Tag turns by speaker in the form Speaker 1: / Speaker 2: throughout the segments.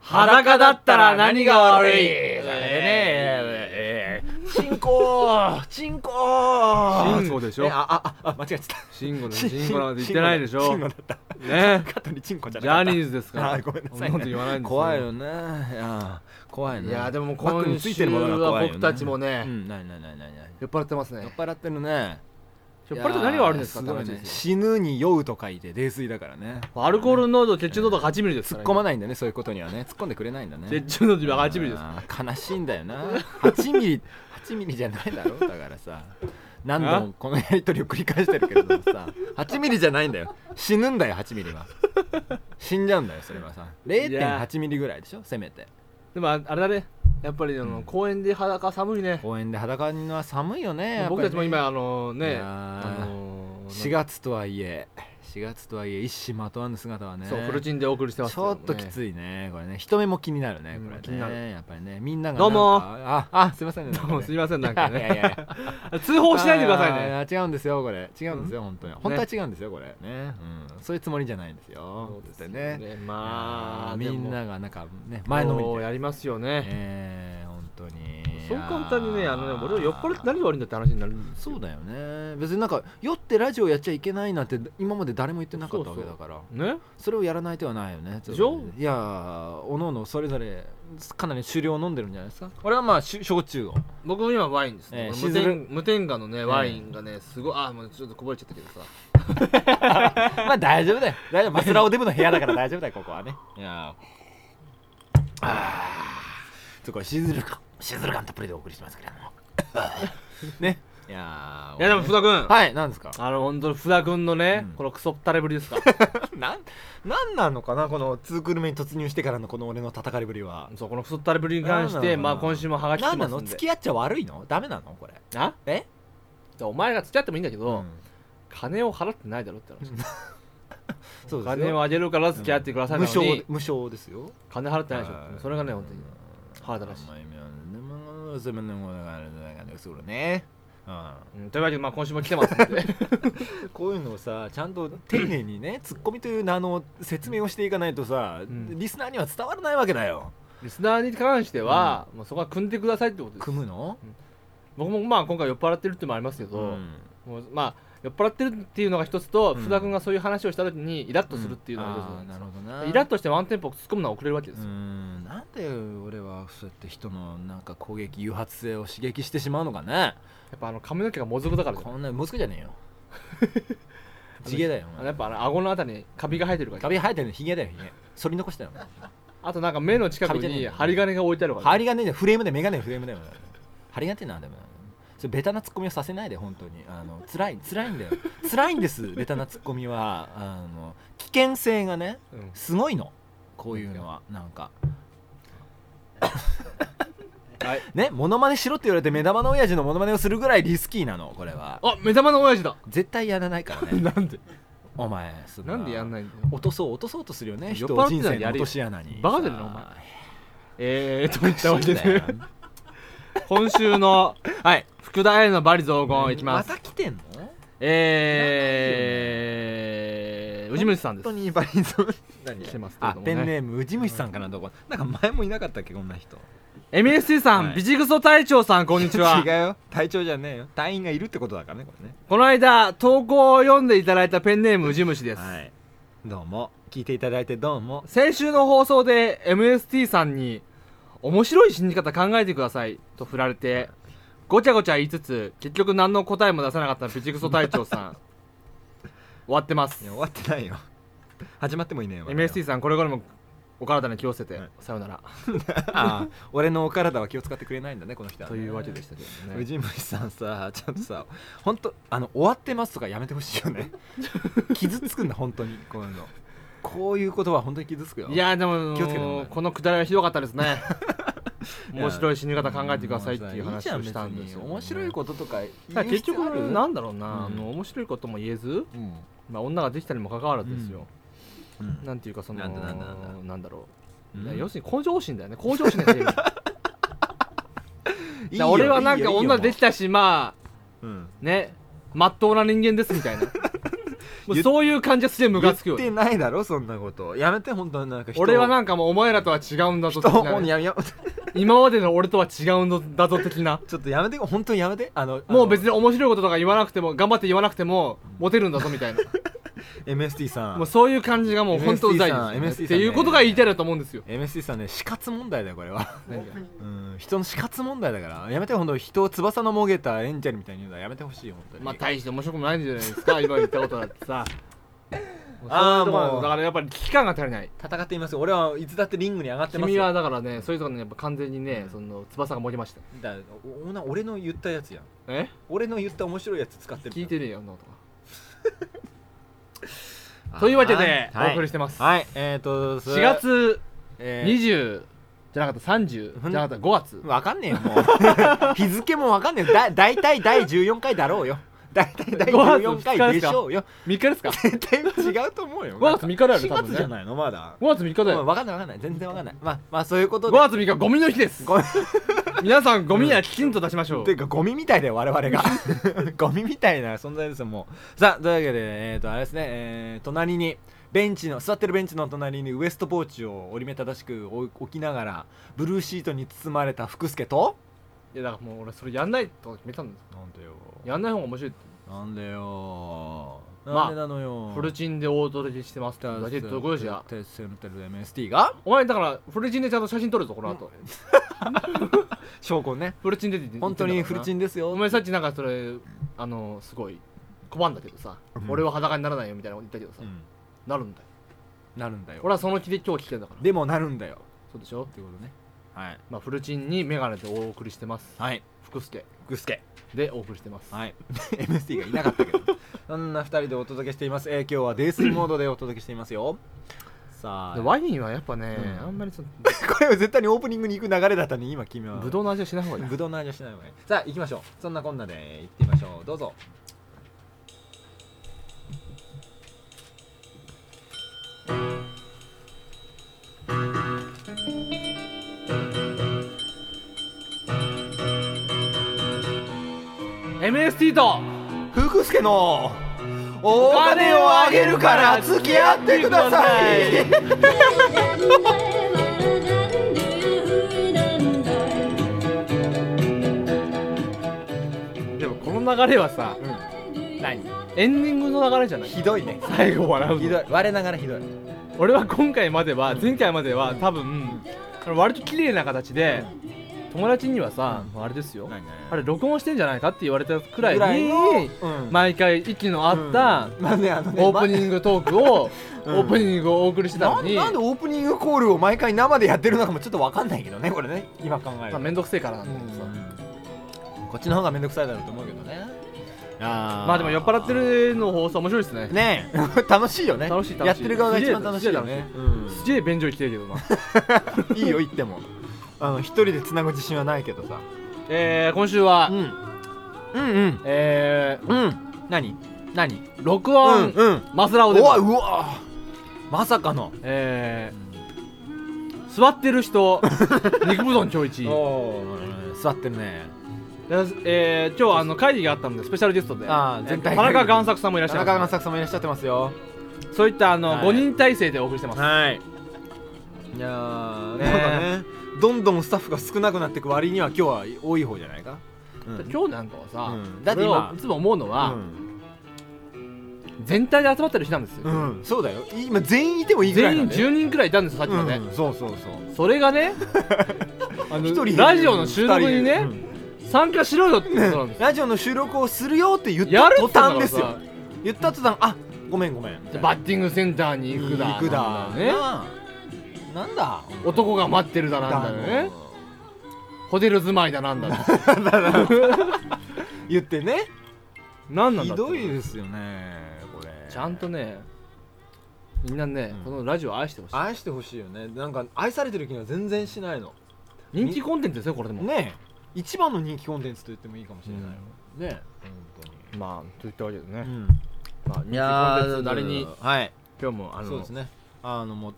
Speaker 1: 裸だったら何が悪いね
Speaker 2: え
Speaker 1: えチンコチンコ
Speaker 2: チンコでしょ
Speaker 1: えああああ間違えてた
Speaker 2: 慎吾の慎吾なんて言ってないでし
Speaker 1: チ
Speaker 2: ょ
Speaker 1: ンコだ
Speaker 2: ね
Speaker 1: った
Speaker 2: え
Speaker 1: カットにチンコじゃ
Speaker 2: ジ
Speaker 1: なか
Speaker 2: ャ
Speaker 1: った
Speaker 2: ニーズですから
Speaker 1: あごめんなさいね
Speaker 2: そこと言わないんです
Speaker 3: 怖いよねいや怖いね
Speaker 1: いやでも
Speaker 3: バッ
Speaker 1: 今
Speaker 3: グについ
Speaker 1: 週
Speaker 3: てるものが
Speaker 1: は
Speaker 3: 怖いよね
Speaker 1: 僕たちも
Speaker 3: う
Speaker 1: ね
Speaker 3: んないないないないない
Speaker 1: 酔っ払ってますね
Speaker 3: 酔っ払ってるね
Speaker 2: 酔っ払って何が悪いんですか
Speaker 3: いやー
Speaker 2: って
Speaker 3: ご
Speaker 2: 話
Speaker 3: いね
Speaker 2: です
Speaker 3: 死ぬに酔うと書いて泥酔だからね
Speaker 2: アルコール濃度血中濃度が8ミリです
Speaker 3: 突
Speaker 2: か
Speaker 3: っ
Speaker 2: ら
Speaker 3: 込まないんだねそういうことにはね突っ込んでくれないんだね
Speaker 2: 血中濃度が8ミリです
Speaker 3: あー悲しいんだよな8ミリ8ミリじゃないだろだからさ何度もこのやり取りを繰り返してるけれどもさ8ミリじゃないんだよ死ぬんだよ8ミリは死んじゃうんだよそれはさ0.8ミリぐらいでしょせめて
Speaker 2: でもああれだねやっぱりあの公園で裸寒いね
Speaker 3: 公園で裸にのは寒いよねやっぱり
Speaker 2: 僕
Speaker 3: ね
Speaker 2: たちも今あの
Speaker 3: い
Speaker 2: ね
Speaker 3: やー
Speaker 2: あの
Speaker 3: 4月とはいえ4月とはいえ一糸まとわぬ姿はね
Speaker 2: そうフルチンでお送りしてます
Speaker 3: ちょっとき
Speaker 2: い
Speaker 3: ついねこれね人目も気になるね
Speaker 2: うん
Speaker 3: これね
Speaker 2: 気になる
Speaker 3: やっぱりねみんなが
Speaker 2: どうも
Speaker 3: なんかああすいませんね
Speaker 2: どうもすいませんなんか
Speaker 3: いやい
Speaker 2: ね
Speaker 3: やいや
Speaker 2: 通報しないでください
Speaker 3: あ
Speaker 2: ね
Speaker 3: ー。違うんですよ、これ。違うんですよ、本当に。本当は違うんですよ、これ。ね。うん。そういうつもりじゃないんですよ。ってね。
Speaker 2: まあ
Speaker 3: みん
Speaker 2: でも
Speaker 3: ながなんかね、前のめ
Speaker 2: そう
Speaker 3: り
Speaker 2: や
Speaker 3: で。
Speaker 2: りますよね
Speaker 3: ええ、本当に。
Speaker 2: そう簡単にねあのね俺は酔っ払って何
Speaker 3: よ。
Speaker 2: が悪いんだって話になるんです
Speaker 3: そ
Speaker 2: よ
Speaker 3: うだよね。別になんか酔ってラジオやっちゃいけないなんて今まで誰も言ってなかったわけだから。
Speaker 2: ね
Speaker 3: それをやらない手はないよね。
Speaker 2: でしょ
Speaker 3: いやー、おのおのそれぞれかなり酒量を飲んでるんじゃないですか。俺はまあし焼酎を。
Speaker 1: 僕も今ワインですね
Speaker 3: え
Speaker 1: こ
Speaker 3: ー
Speaker 1: れ無
Speaker 3: しずる
Speaker 1: 添無添加のねワインがねすごいあもうちょっとこぼれちゃったけどさ
Speaker 3: まあ大丈夫だよ。大丈夫。マスラオデブの部屋だから大丈夫だよ、ここはね。いやーあー。そこはシズル感、シズル感たっぷりでお送りしますけれども。ね。いやー
Speaker 2: いやでも福田君
Speaker 3: はい、なんですか
Speaker 2: あの本当に福田君のね、
Speaker 3: うん
Speaker 2: このクソったれぶりですか
Speaker 3: なん、なんなのかなこのツークルメに突入してからのこの俺の叩かれぶりは。
Speaker 2: そうこのクソったれぶりに関し
Speaker 3: なんな
Speaker 2: て
Speaker 3: のかな
Speaker 2: まあ今週もハガキ来
Speaker 3: な
Speaker 2: て
Speaker 3: ん
Speaker 2: ま
Speaker 3: な
Speaker 2: す
Speaker 3: の
Speaker 2: んで
Speaker 3: 付き合っちゃ悪いのダメなのこれ。
Speaker 2: あ
Speaker 3: え
Speaker 2: お前が付き合ってもいいんだけど、
Speaker 3: うん
Speaker 2: 金を払ってないだろって話
Speaker 3: そう
Speaker 2: お
Speaker 3: ですよ
Speaker 2: 金をあげるから付き合ってください
Speaker 3: 無
Speaker 2: なのに、
Speaker 3: 償、無償ですよ。
Speaker 2: 金払ってないでしょ、
Speaker 3: はい
Speaker 2: それがね本当に腹立たしい
Speaker 3: まあ今でもそれもだからなんかねそうねうん
Speaker 2: うん、というわけで、まあ、今週も来てますんで
Speaker 3: こういうのをさちゃんと丁寧にねツッコミという名の説明をしていかないとさ、
Speaker 2: うん
Speaker 3: リスナーには伝わらないわけだよ
Speaker 2: リスナーに関しては、もうそこは組んでくださいってことです
Speaker 3: 組むの
Speaker 2: 僕もまあ今回酔っ払ってるってのもありますけど、
Speaker 3: うん
Speaker 2: もうまあ酔っ払ってるっていうのが一つと、
Speaker 3: うん
Speaker 2: 福田君がそういう話をした時にイラッとするっていうのが一つ
Speaker 3: あーなるほどな
Speaker 2: イラッとしてワンテンポ突っ込むのは遅れるわけで
Speaker 3: う
Speaker 2: すよ、
Speaker 3: んなんで俺はそうやって人のなんか攻撃誘発性を刺激してしまうのかね
Speaker 2: やっぱあの髪の毛がもずくだからじゃない
Speaker 3: こんなもつくじゃねえよ地毛だよ
Speaker 2: あの
Speaker 3: お
Speaker 2: や
Speaker 3: 前
Speaker 2: っぱあの顎のあたりにカビが生えてるから
Speaker 3: カビ生えてるのヒゲだよヒゲ剃り残したよ
Speaker 2: あとなんか目の近く
Speaker 3: カビじゃねえ
Speaker 2: に
Speaker 3: よ
Speaker 2: 針金が置いてあるから、
Speaker 3: 針金だよフレームでメガネフレームだよ針金ってなんだよそれベタなツッコミをさせないで本当にあの辛い辛いんだよ辛い んですベタなツッコミはあの危険性がね
Speaker 2: うん
Speaker 3: すごいのこういうのはなんか
Speaker 2: はい、
Speaker 3: ねモノマネしろって言われて目玉の親父のモノマネをするぐらいリスキーなのこれは
Speaker 2: あ目玉の親父だ
Speaker 3: 絶対やら ないからね
Speaker 2: なんで
Speaker 3: お前そん
Speaker 2: なんでやんない んだよ
Speaker 3: 落とそう落とそうとするよね
Speaker 2: 酔っ
Speaker 3: 人
Speaker 2: 払
Speaker 3: を
Speaker 2: って
Speaker 3: 人
Speaker 2: たら
Speaker 3: 生の
Speaker 2: や
Speaker 3: 落
Speaker 2: るよ
Speaker 3: とし穴に
Speaker 2: バカだよなお前えーっといったわけ
Speaker 3: そ
Speaker 2: で
Speaker 3: うだよ
Speaker 2: 今週の
Speaker 3: はい
Speaker 2: 福田へのバリ雑言いきます、
Speaker 3: また来てんの
Speaker 2: えー宇治虫さんです
Speaker 3: 本当にバリゾー
Speaker 2: 来てますけれ
Speaker 3: あ
Speaker 2: ども、ね、
Speaker 3: ペンネームウジ虫さんかなどこなんか前もいなかったっけこんな人
Speaker 2: MSC さん、
Speaker 3: はい
Speaker 2: ビジグソ隊長さんこんにちは
Speaker 3: 違うよ隊長じゃねえよ隊員がいるってことだからねこれね
Speaker 2: この間投稿を読んでいただいたペンネームウジ虫です、
Speaker 3: いどうも聞いていただいてどうも
Speaker 2: 先週の放送で MST さんに面白い死に方考えてくださいと振られてごちゃごちゃ言いつつ結局何の答えも出さなかったビジグソ隊長さ ん終わってます
Speaker 3: いや終わってないよ始まってもいねえよまだよ
Speaker 2: MST さんこれからもお体に気をつけて、
Speaker 3: はい
Speaker 2: さよなら
Speaker 3: ああ俺のお体は気を使ってくれないんだねこの人は
Speaker 2: と
Speaker 3: ね、
Speaker 2: いうわけでしたけどね
Speaker 3: ウジ虫さんさちゃんとさ本当あの終わってますとかやめてほしい よね傷つくんだ本当にこういうのこういうことは本当に傷つくよ
Speaker 2: いやでも
Speaker 3: 気をつけてね
Speaker 2: このくだりはひどかったです ね
Speaker 3: いや
Speaker 2: 面白い死に方考えてくださいっていう話をしたんですよ、
Speaker 3: いいじゃ別に面白いこととか
Speaker 2: だから結局なんだろうな、
Speaker 3: うん
Speaker 2: あの面白いことも言えず、
Speaker 3: と、うん
Speaker 2: まあ、女ができたにもかかわらずですよ、
Speaker 3: うん
Speaker 2: なんていうかその
Speaker 3: なんだなんだなんだ
Speaker 2: なんだろう、
Speaker 3: うん
Speaker 2: いや要するに向上心だよね向上心 が出るだか
Speaker 3: いい
Speaker 2: ら
Speaker 3: よ
Speaker 2: 俺はなん
Speaker 3: いい
Speaker 2: か
Speaker 3: よいいよ
Speaker 2: 女できたしまあ
Speaker 3: もううん
Speaker 2: ねまっとうな人間ですみたいなもうそういう感じはすげえムカつくよね
Speaker 3: 言ってないだろそんなことやめて本当になんか人を
Speaker 2: 俺はなんかもうお前らとは違うんだぞ
Speaker 3: 人
Speaker 2: 的
Speaker 3: を
Speaker 2: な
Speaker 3: やめやめ
Speaker 2: 今までの俺とは違うんだぞ的な
Speaker 3: ちょっとやめて本当にやめてあの
Speaker 2: もう別
Speaker 3: に
Speaker 2: に面白いこととか言わなくても頑張って言わなくてもモテるんだぞみた いな
Speaker 3: MST さん
Speaker 2: もうそういう感じがもう本当うざいですよね
Speaker 3: MST さん
Speaker 2: っていうことが言いたいだと思うんですよ
Speaker 3: MST さんね死活問題だよこれは
Speaker 2: 何が
Speaker 3: うん人の死活問題だからやめて本当人を翼のもげたエンジェルみたいに言うのはやめてほしいよ本当に
Speaker 2: まあ大して面白くもないんじゃないですか今言ったことだって さそういうとこなんです
Speaker 3: あーもう
Speaker 2: だからやっぱり危機感が足りない
Speaker 3: 戦っていますよ俺はいつだってリングに上がってます
Speaker 2: 君
Speaker 3: よ
Speaker 2: はだからねそういうところにやっぱ完全にね、その翼が持てました
Speaker 3: だからおおな俺の言ったやつやん
Speaker 2: え
Speaker 3: 俺の言った面白いやつ使ってるから
Speaker 2: 聞いてるよあんなことはというわけで
Speaker 3: はい
Speaker 2: お送りしてます
Speaker 3: はいえっ、ー、とそ
Speaker 2: 4
Speaker 3: れ
Speaker 2: 月
Speaker 3: えー
Speaker 2: 20じゃなかった30じゃなかった5月
Speaker 3: わかんねえよもう 日付もわかんねえよだ大体第14回だろうよ大体 第14回でしょうよ
Speaker 2: 3日です か5
Speaker 3: 絶対違うと思うよ
Speaker 2: 月3日だよね多
Speaker 3: 4
Speaker 2: 分
Speaker 3: 月じゃ
Speaker 2: ね
Speaker 3: ないのまだ
Speaker 2: 5月3日だ
Speaker 3: 分
Speaker 2: よ
Speaker 3: かんない分かんない全然分かんないまあまあそういうこと
Speaker 2: 5
Speaker 3: で
Speaker 2: 月3日ゴミの日です
Speaker 3: ごめん
Speaker 2: 皆さんゴミはきちんと出しましょう
Speaker 3: ていうかゴミみたいだよ我 々がゴミみたいな存在ですよもうさあというわけでえっ、とあれですね、えー隣にベンチの座ってるベンチの隣にウエストポーチを折り目正しく置置きながらブルーシートに包まれた福助と
Speaker 2: いやだからもう俺それやんないと決めたんです
Speaker 3: なんでよ
Speaker 2: やんない方が面白いって
Speaker 3: なんでよ
Speaker 2: まあ
Speaker 3: なんでなのよ、
Speaker 2: フルチンで大届けしてますってだけどこうじゃ
Speaker 3: テッセルテル MST が
Speaker 2: お前だからフルチンでちゃんと写真撮るぞこの後
Speaker 3: 証拠ね
Speaker 2: フルチンでって言ってんだから
Speaker 3: 本
Speaker 2: な
Speaker 3: 当にフルチンですよ
Speaker 2: お前さっきなんかそれあのすごい拒んだけどさ、
Speaker 3: うん
Speaker 2: 俺は裸にならないよみたいなこと言ったけどさ、
Speaker 3: うん
Speaker 2: なるんだよ
Speaker 3: なるんだよ
Speaker 2: 俺はその気で今日来てんだから
Speaker 3: でもなるんだよ
Speaker 2: そうでしょ
Speaker 3: ってことねはい
Speaker 2: まあフルチンにメガネでお送りしてます
Speaker 3: はい
Speaker 2: 福助
Speaker 3: 福助
Speaker 2: でお送りしてます、
Speaker 3: はい MST がいなかったけど そんな2人でお届けしています、えー今日は泥酔モードでお届けしていますよさあ
Speaker 2: でワインはやっぱね、
Speaker 3: うん
Speaker 2: あんまりその
Speaker 3: これは絶対にオープニングに行く流れだったね今君は
Speaker 2: ブドウの味はしない方がいい
Speaker 3: ぶどうの味はしないわねさあ行きましょうそんなこんなで行ってみましょうどうぞ
Speaker 2: な MST と
Speaker 3: 福助のお金をあげるから付き合ってください
Speaker 2: でもこの流れはさ
Speaker 3: 何
Speaker 2: エンディングの流れじゃない
Speaker 3: ひどいね
Speaker 2: 最後笑うの
Speaker 3: ひどい我ながらひどい
Speaker 2: 俺は今回までは前回までは多分あの割と綺麗な形で友達にはさ、あれですよあれ録音してんじゃないかって言われたくらい
Speaker 3: ぐらい
Speaker 2: に
Speaker 3: のうん
Speaker 2: 毎回息の合った
Speaker 3: うんまあねあのね
Speaker 2: オープニングトークを
Speaker 3: うん
Speaker 2: オープニングをお送りしてた
Speaker 3: な
Speaker 2: の
Speaker 3: ん
Speaker 2: に
Speaker 3: なんでオープニングコールを毎回生でやってるのかもちょっとわかんないけどねこれね今考える
Speaker 2: まあ
Speaker 3: と
Speaker 2: 面倒くせえからなん
Speaker 3: う
Speaker 2: だけどさ
Speaker 3: んこっちの方がめんどくさいだろうと思うけどねま
Speaker 2: まあでも酔っ払ってるの放送面白いですね
Speaker 3: ね え楽しいよね
Speaker 2: 楽しい楽しい
Speaker 3: やってる側が一番楽しいよね
Speaker 2: すげえ便所行きてるけどな
Speaker 3: うん いいよ言ってもあの一人でつなぐ自信はないけどさ
Speaker 2: えー今週は
Speaker 3: うんうん
Speaker 2: えー
Speaker 3: うんうん何何
Speaker 2: 録
Speaker 3: うん
Speaker 2: 音
Speaker 3: うん
Speaker 2: マスラオ
Speaker 3: う
Speaker 2: で
Speaker 3: わうわまさかの
Speaker 2: えー座ってる 人肉ぶどん今日一
Speaker 3: うん座ってるね
Speaker 2: えー、今日あの会議があったのでスペシャルゲストで
Speaker 3: あー
Speaker 2: えー
Speaker 3: 全体
Speaker 2: 田中贋作さんもいらっし
Speaker 3: 田
Speaker 2: ゃい
Speaker 3: 中
Speaker 2: ま
Speaker 3: 贋
Speaker 2: す
Speaker 3: 作さんもいらっしゃってますよ
Speaker 2: そういったあの、
Speaker 3: はい
Speaker 2: 5人体制でお送りしてます、
Speaker 3: はいいやー
Speaker 2: ね
Speaker 3: なんかねどんどんスタッフが少なくなっていく割には今日は多い方じゃないかうん
Speaker 2: 今日なんかはさ、
Speaker 3: うんだって今
Speaker 2: 俺はいつも思うのは
Speaker 3: う、ん
Speaker 2: 全体で集まってる日なんですよ、
Speaker 3: うんそうだよ今全員いてもいいぐらい
Speaker 2: 全
Speaker 3: だ
Speaker 2: 員
Speaker 3: ね
Speaker 2: 10人くらいいたんですよさっきまで、
Speaker 3: うんそうそうそう
Speaker 2: それがね あの
Speaker 3: 一人
Speaker 2: ラジオの収録にね、
Speaker 3: 二人で
Speaker 2: 参加しろよってことなん
Speaker 3: う
Speaker 2: で
Speaker 3: ん
Speaker 2: すよ
Speaker 3: ラジオの収録をするよって言っ
Speaker 2: や
Speaker 3: た
Speaker 2: る
Speaker 3: 途
Speaker 2: って言うんだ
Speaker 3: 端で
Speaker 2: か
Speaker 3: す
Speaker 2: らさ
Speaker 3: よ言った途端あごめんごめんみたいな
Speaker 2: バッティングセンターに行くだ
Speaker 3: 行くだ
Speaker 2: なんだよね
Speaker 3: なあなんだ
Speaker 2: 男が待ってるだなんだよねホテル住まいだなん だ
Speaker 3: 言ってね
Speaker 2: なんなん
Speaker 3: ひ
Speaker 2: だ
Speaker 3: どい
Speaker 2: って
Speaker 3: ですよねこれ
Speaker 2: ちゃんとねみんなね、
Speaker 3: うん
Speaker 2: このラジオを愛してほしい
Speaker 3: 愛してほしいよねなんか愛されてる気が全然しないの
Speaker 2: 人気コンテンツですよこれでも、
Speaker 3: ねえ一番の人気コンテンツと言ってもいいかもしれないよ、ねえ
Speaker 2: まあといったわけでね、まあ、人気
Speaker 3: 本当に
Speaker 2: コンテンツ誰に
Speaker 3: はい
Speaker 2: 今日もあ
Speaker 3: そう
Speaker 2: の
Speaker 3: ですねあのもう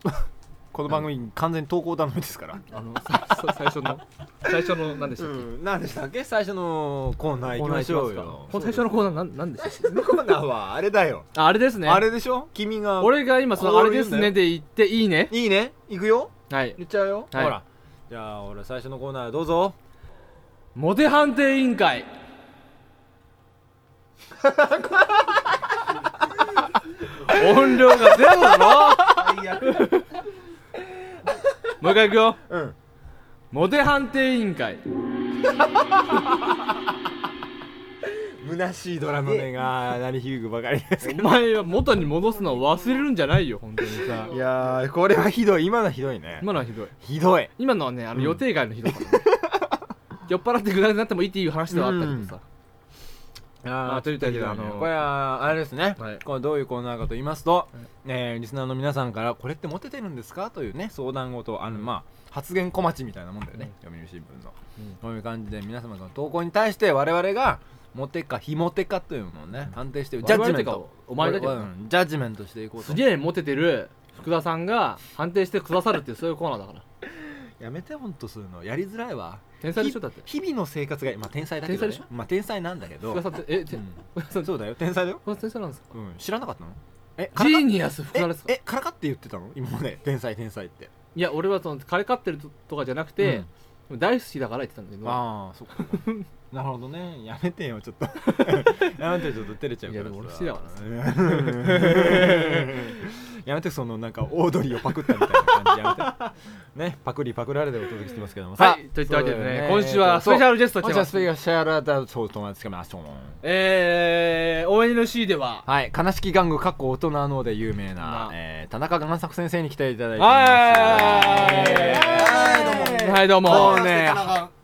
Speaker 3: この番組完全に投稿頼みですから
Speaker 2: あのささ 最初の最初の何でしたっけ、
Speaker 3: ん何でしたっけ最初のコーナー
Speaker 2: コ
Speaker 3: 行
Speaker 2: ーナ
Speaker 3: き
Speaker 2: ー
Speaker 3: ま
Speaker 2: いき
Speaker 3: し
Speaker 2: ま
Speaker 3: ょ
Speaker 2: す
Speaker 3: う
Speaker 2: か
Speaker 3: よ
Speaker 2: この最初のコーナーなんなんでしたっけ
Speaker 3: コーナーはあれだよ
Speaker 2: ああれですね
Speaker 3: あれでしょ君が
Speaker 2: 俺が今その「あれですね」
Speaker 3: 俺
Speaker 2: で言っていいね
Speaker 3: いいね行くよ
Speaker 2: はい
Speaker 3: 言っちゃうよ
Speaker 2: はい
Speaker 3: ほらじゃあ俺最初のコーナーどうぞ
Speaker 2: モテ判定委員会音量がゼロだろもう一回いくよ
Speaker 3: うん
Speaker 2: モテ判定委員会
Speaker 3: 虚しいドラム音が鳴り響くばかりですけ
Speaker 2: お前は元に戻すのを忘れるんじゃないよ本当にさ
Speaker 3: どいやーこれはひどい今のはひどいね
Speaker 2: 今のはひどい
Speaker 3: ひどい
Speaker 2: 今のはねあの予定外のひどさ、酔っ払ってグダグダになってもいいっていう話ではあったけどさ、
Speaker 3: あ
Speaker 2: ーというわけであの
Speaker 3: これはあれですね、
Speaker 2: はい
Speaker 3: これどういうコーナーかと言いますと、えーリスナーの皆さんからこれってモテてるんですかというね相談事あの、まあ、発言小町みたいなもんだよね、読売新聞の、
Speaker 2: うん
Speaker 3: こういう感じで皆様の投稿に対して我々がモテか非モテかというのをね判定してジャッジメント
Speaker 2: 我々ってかお前だけど
Speaker 3: うんジャッジメントしていこうと
Speaker 2: すげえモテてる福田さんが判定してくださるっていうそういうコーナーだから
Speaker 3: やめてほんとするのやりづらいわ
Speaker 2: 天才でしょだって
Speaker 3: 日々の生活が、まあ、天才だけど、ね、
Speaker 2: 天才で
Speaker 3: まあ、天才なんだけど、
Speaker 2: 福田さんってえて
Speaker 3: うん
Speaker 2: 福田さん
Speaker 3: そうだよ天才だよ、
Speaker 2: 福田先生なんですか
Speaker 3: うん、知らなかったのえ
Speaker 2: ジーニアス福
Speaker 3: え
Speaker 2: 田ですか
Speaker 3: えからかって言ってたの今まで天才天才 って
Speaker 2: いや俺はその彼飼ってるとかじゃなくて、大好きだから言ってたんだけど
Speaker 3: ああそっかなるほどねやめてよ ちょっとやめてよちょっと照れちゃうから
Speaker 2: いやでも俺
Speaker 3: さ
Speaker 2: 好きだから
Speaker 3: やめてそのなんかオードリーをパクったみたいな感じやめ てねパクリパクられでお届けしてますけどもさ
Speaker 2: は
Speaker 3: あ
Speaker 2: いといったわけで
Speaker 3: そうだ
Speaker 2: ね
Speaker 3: よ
Speaker 2: 今週はスペシャルゲスト
Speaker 3: そ
Speaker 2: 来
Speaker 3: う今
Speaker 2: て
Speaker 3: 週は
Speaker 2: ま
Speaker 3: スペシ
Speaker 2: す
Speaker 3: ャルシャラダそうとまつけましょう
Speaker 2: えー、ONC では
Speaker 3: はい悲しき玩具かっこ大人ので有名な
Speaker 2: な、
Speaker 3: えー、田中贋作先生に来ていただいています
Speaker 2: はい
Speaker 3: イエーイ
Speaker 2: はいどうも
Speaker 3: どうも
Speaker 2: は
Speaker 3: うね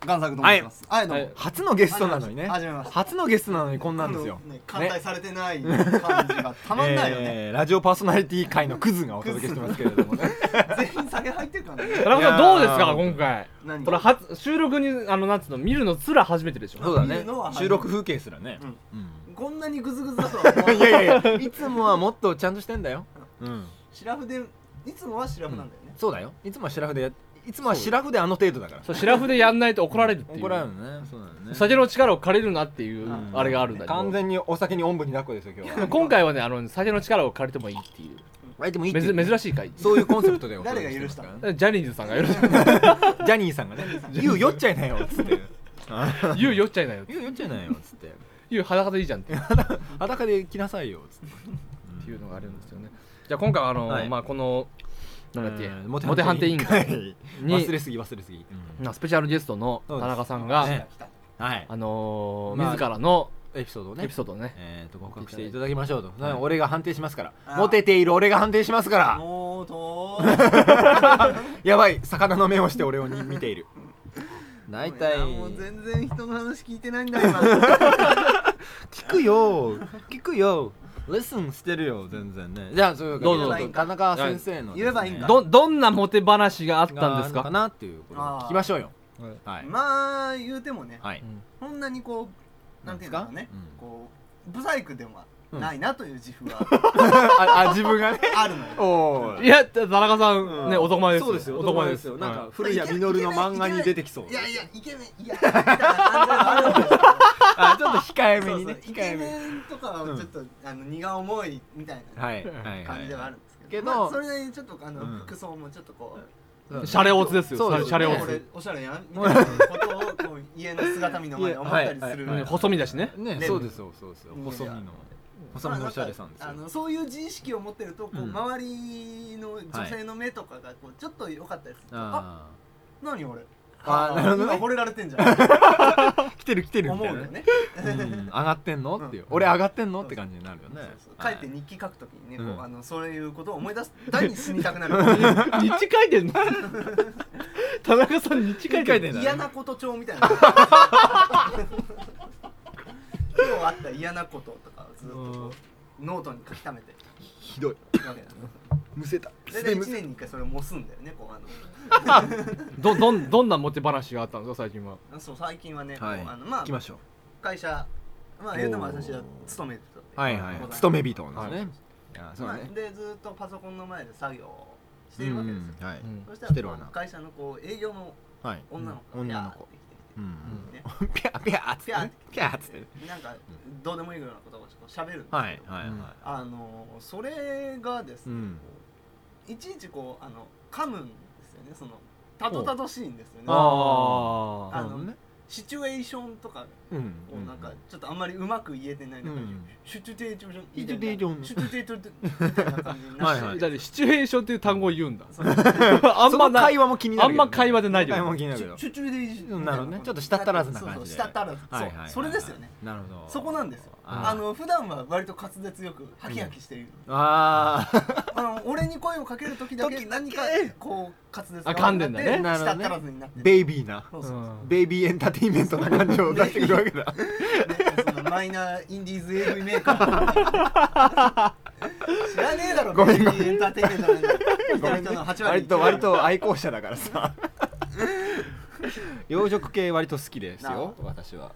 Speaker 4: 贋作と申します。はい、どう
Speaker 2: は
Speaker 4: も
Speaker 2: い。
Speaker 3: 初のゲストなのにね
Speaker 4: はじめまして
Speaker 3: 初のゲストなのにこんなんですよ、
Speaker 4: ね艦隊されてない感じがたまんないよね。
Speaker 3: えーラジオパーソナリティ界のクズがお届けしてますけれどもね
Speaker 4: 全員酒入ってるからね。
Speaker 2: 田中さん
Speaker 3: いやー
Speaker 2: どうですか今回
Speaker 4: 何
Speaker 2: これ初収録にあのなんつうの見るのすら初めてでしょ
Speaker 3: そうだ
Speaker 4: 見
Speaker 3: ね
Speaker 4: るのは初めて
Speaker 3: 収録風景すらね、
Speaker 4: こんなにグズグズだとは思わない
Speaker 3: いやいやいやいつもはもっとちゃんとしてんだよ、うん、
Speaker 4: シラフで、いつもはシラフなんだよね。
Speaker 3: そうだよいつもはシラフでやいつもはシラフであの程度だから
Speaker 2: そうシラフでやんないと怒られるっていう
Speaker 3: 怒られるのねそうだね
Speaker 2: 酒の力を借りるなっていう
Speaker 4: うん
Speaker 2: あれがあるんだけ
Speaker 3: 完
Speaker 2: ど
Speaker 3: 全にお酒におんぶに抱っこですよ今日 は
Speaker 2: 今回はねあの酒の力を借りてもいいっていう
Speaker 3: えでもいいって
Speaker 2: めず珍し い回
Speaker 3: そういうコンセプトでお
Speaker 4: 誰
Speaker 3: 届
Speaker 4: が
Speaker 3: けして
Speaker 4: 許
Speaker 3: ま
Speaker 4: し
Speaker 3: す
Speaker 4: た
Speaker 3: から
Speaker 4: の
Speaker 3: ね
Speaker 2: ジャニーズさんがよろし
Speaker 3: ジャニーさんがね「言う酔っちゃいなよ」っつって
Speaker 2: く言う酔っちゃいなよ
Speaker 3: 「言う酔っちゃいなよ」っつって
Speaker 2: 言う裸でいいじゃんって
Speaker 3: 「裸で来なさいよ」っつって
Speaker 2: っていうのがあるんですよねじゃあ今回はあの、
Speaker 3: はい
Speaker 2: まあこのなんだっけ
Speaker 3: うん
Speaker 2: モテ判定委員会に
Speaker 3: 忘れすぎ忘れすぎ、
Speaker 2: まあスペシャルゲストの田中さんが、
Speaker 3: そうですね
Speaker 4: 来た
Speaker 3: はい
Speaker 2: あのー
Speaker 3: まあ
Speaker 2: 自らの
Speaker 3: エピソードをね
Speaker 2: エピソードをね
Speaker 3: えー、と告白していただきましょうと、
Speaker 2: はい
Speaker 3: 俺が判定しますから
Speaker 4: あー
Speaker 3: モテている俺が判定しますから
Speaker 4: もうと
Speaker 3: やばい魚の目をして俺をに見ている大体
Speaker 4: もう全然人の話聞いてないんだ今。
Speaker 3: 聞くよ聞くよレッスンしてるよ全然ねじゃあそういうわけで
Speaker 2: どうぞ
Speaker 4: どうぞ
Speaker 3: 田中先生のですね、
Speaker 4: 言えばいいんだ
Speaker 2: どどんなモテ話があっ
Speaker 3: があ
Speaker 2: たんです
Speaker 3: るのか
Speaker 2: か
Speaker 3: なっていうことを聞きましょうよはい
Speaker 4: まあ、言うてもね、
Speaker 3: はい
Speaker 4: そんなにこう、なんていうんだろうね
Speaker 3: なんです。か
Speaker 4: こう、ブサイクでもないなという自負は
Speaker 3: ああ自分がね
Speaker 4: あるのよ。
Speaker 3: お
Speaker 2: いや田中さん、ね男前です
Speaker 3: そうですよ
Speaker 2: 男前です
Speaker 3: よなんか
Speaker 2: は
Speaker 3: 古谷実の漫画に出てきそう
Speaker 4: いやいや、イケメン、いや、みたいな感じがあるんですよ
Speaker 3: あちょっと控えめ
Speaker 4: そう
Speaker 3: に
Speaker 4: そう
Speaker 3: ね
Speaker 4: イケメンとかはちょっと、あの荷が重いみたいな
Speaker 3: はいはい
Speaker 4: 感じではあるんですけど、
Speaker 3: けど
Speaker 4: まあそれなりにちょっとあの、
Speaker 3: うん
Speaker 4: 服装もちょっとこ
Speaker 2: いシャレオツですよ
Speaker 3: そうですね
Speaker 2: シャ
Speaker 4: う、
Speaker 2: レオ
Speaker 4: ねこ
Speaker 2: ツ
Speaker 4: れおしゃれやんみたいなことをこう家の姿見の前で思ったりする、
Speaker 3: はいはい
Speaker 2: うん細身だしね
Speaker 3: ね
Speaker 4: ね
Speaker 3: そうですそうですそうです
Speaker 4: うん
Speaker 3: 細身の細
Speaker 4: ま
Speaker 3: 身の
Speaker 4: あな
Speaker 3: お
Speaker 4: ん
Speaker 3: しゃれさんです
Speaker 4: か
Speaker 3: よ
Speaker 4: あのそういう自意識を持ってるとこう、
Speaker 3: うん
Speaker 4: 周りの女性の目とかがこうちょっと良かったりすると、
Speaker 3: あ
Speaker 4: あ何俺
Speaker 3: あーなるほどね
Speaker 4: 今惚れられてんじゃ ん
Speaker 3: ー来てる来てるみ
Speaker 4: 思
Speaker 3: た
Speaker 4: う
Speaker 3: い
Speaker 4: よ
Speaker 3: なね
Speaker 4: ね
Speaker 3: うん上がってんのっていう
Speaker 4: うん
Speaker 3: 俺上がってんのって感じになるよね
Speaker 4: そうそう書いて日記書くときにね、こ
Speaker 3: うん
Speaker 4: うあのそういうことを思い出す第に死にたくなる
Speaker 2: 日記書いてんの田中さん日記書いてんの
Speaker 4: 嫌なこと帳みたい な今日あった嫌なこととかをずっとこうノートに書き溜めて
Speaker 3: ひどい
Speaker 4: るわけだよ
Speaker 3: むせた
Speaker 4: 大体1年に1回それを模すんだよねこうあの
Speaker 2: どどんどんなモテ話があったんですか最近は
Speaker 4: そう最近はね、
Speaker 3: はい
Speaker 4: こうあのま
Speaker 3: 行
Speaker 4: あ
Speaker 3: きましょ
Speaker 4: 会社まあ言うても私は勤めて
Speaker 3: う
Speaker 4: た
Speaker 3: はいはい勤め人です
Speaker 2: は
Speaker 3: ねあそう
Speaker 4: まあ
Speaker 3: ね
Speaker 4: でずっとパソコンの前で作業をしているわけですよ、
Speaker 3: はい
Speaker 2: うん
Speaker 4: そした
Speaker 3: してる
Speaker 4: ら
Speaker 3: わ
Speaker 4: こ
Speaker 3: な
Speaker 4: う会社のこう営業の
Speaker 3: はい
Speaker 4: 女の子が
Speaker 3: うん
Speaker 4: ピャ
Speaker 3: 女
Speaker 4: ー
Speaker 3: の
Speaker 4: っ
Speaker 3: 子
Speaker 4: て来て
Speaker 3: うん ピャー
Speaker 4: きて、ね、
Speaker 3: ピャーっつってピャーっ
Speaker 4: ピャー
Speaker 3: つって
Speaker 4: なんかどうでもいいようなことをこう喋るんですけど、
Speaker 3: はいはいは
Speaker 4: あのそれがです
Speaker 3: い
Speaker 4: ね、
Speaker 3: ん
Speaker 4: いちいちこうあの噛むんですよねそのたどたどしいんですよね
Speaker 2: あ
Speaker 4: あ
Speaker 2: あ
Speaker 3: な
Speaker 4: の
Speaker 3: るほどね
Speaker 4: シチュエーションとか
Speaker 3: うん
Speaker 4: をなんかちょっとあんまりうまく言えてない中に、
Speaker 3: うん
Speaker 4: シュチュテーション
Speaker 3: シチュテーション
Speaker 4: シュチュテーションみたいな感じになって、
Speaker 3: はいはい
Speaker 2: だってシチュエーションっていう単語を言うんだ
Speaker 4: その
Speaker 2: あん
Speaker 3: そ
Speaker 2: ま
Speaker 3: の
Speaker 2: な
Speaker 3: 会話も気にな
Speaker 2: あ
Speaker 3: る
Speaker 2: ん
Speaker 3: けど
Speaker 2: ま
Speaker 3: ね
Speaker 2: 会話でないよ
Speaker 3: 会話も気になる
Speaker 4: シ
Speaker 3: けど
Speaker 4: ュシュチュテーション
Speaker 3: なるほどねちょっと舌足らずな感じで
Speaker 4: そうそう舌足らず、
Speaker 3: はいはいはいはい
Speaker 4: そうそれですよね
Speaker 3: なるほど
Speaker 4: そこなんですよ
Speaker 3: あー
Speaker 4: あの普段は割と滑舌よくハキハキしている、
Speaker 3: ああ
Speaker 4: あの俺に声をかける時だけ
Speaker 3: 時
Speaker 4: 何かこう滑舌
Speaker 2: あ噛んでんだね
Speaker 4: なって
Speaker 3: なるほどね
Speaker 4: 舌足らずになってる
Speaker 3: ベイビーな
Speaker 4: そうそうそう
Speaker 2: うん
Speaker 3: ベイビーエンターテインメントな感じを出してくるわけだ
Speaker 4: ねそのマイナーインディーズ AV メーカー 知らねえだろ
Speaker 3: ごめんご
Speaker 4: ベイビーエンターテインメントなんて人々の8割
Speaker 3: 割と割と愛好者だからさ 洋食系割と好きです
Speaker 4: な
Speaker 3: よ
Speaker 4: あ
Speaker 3: 私は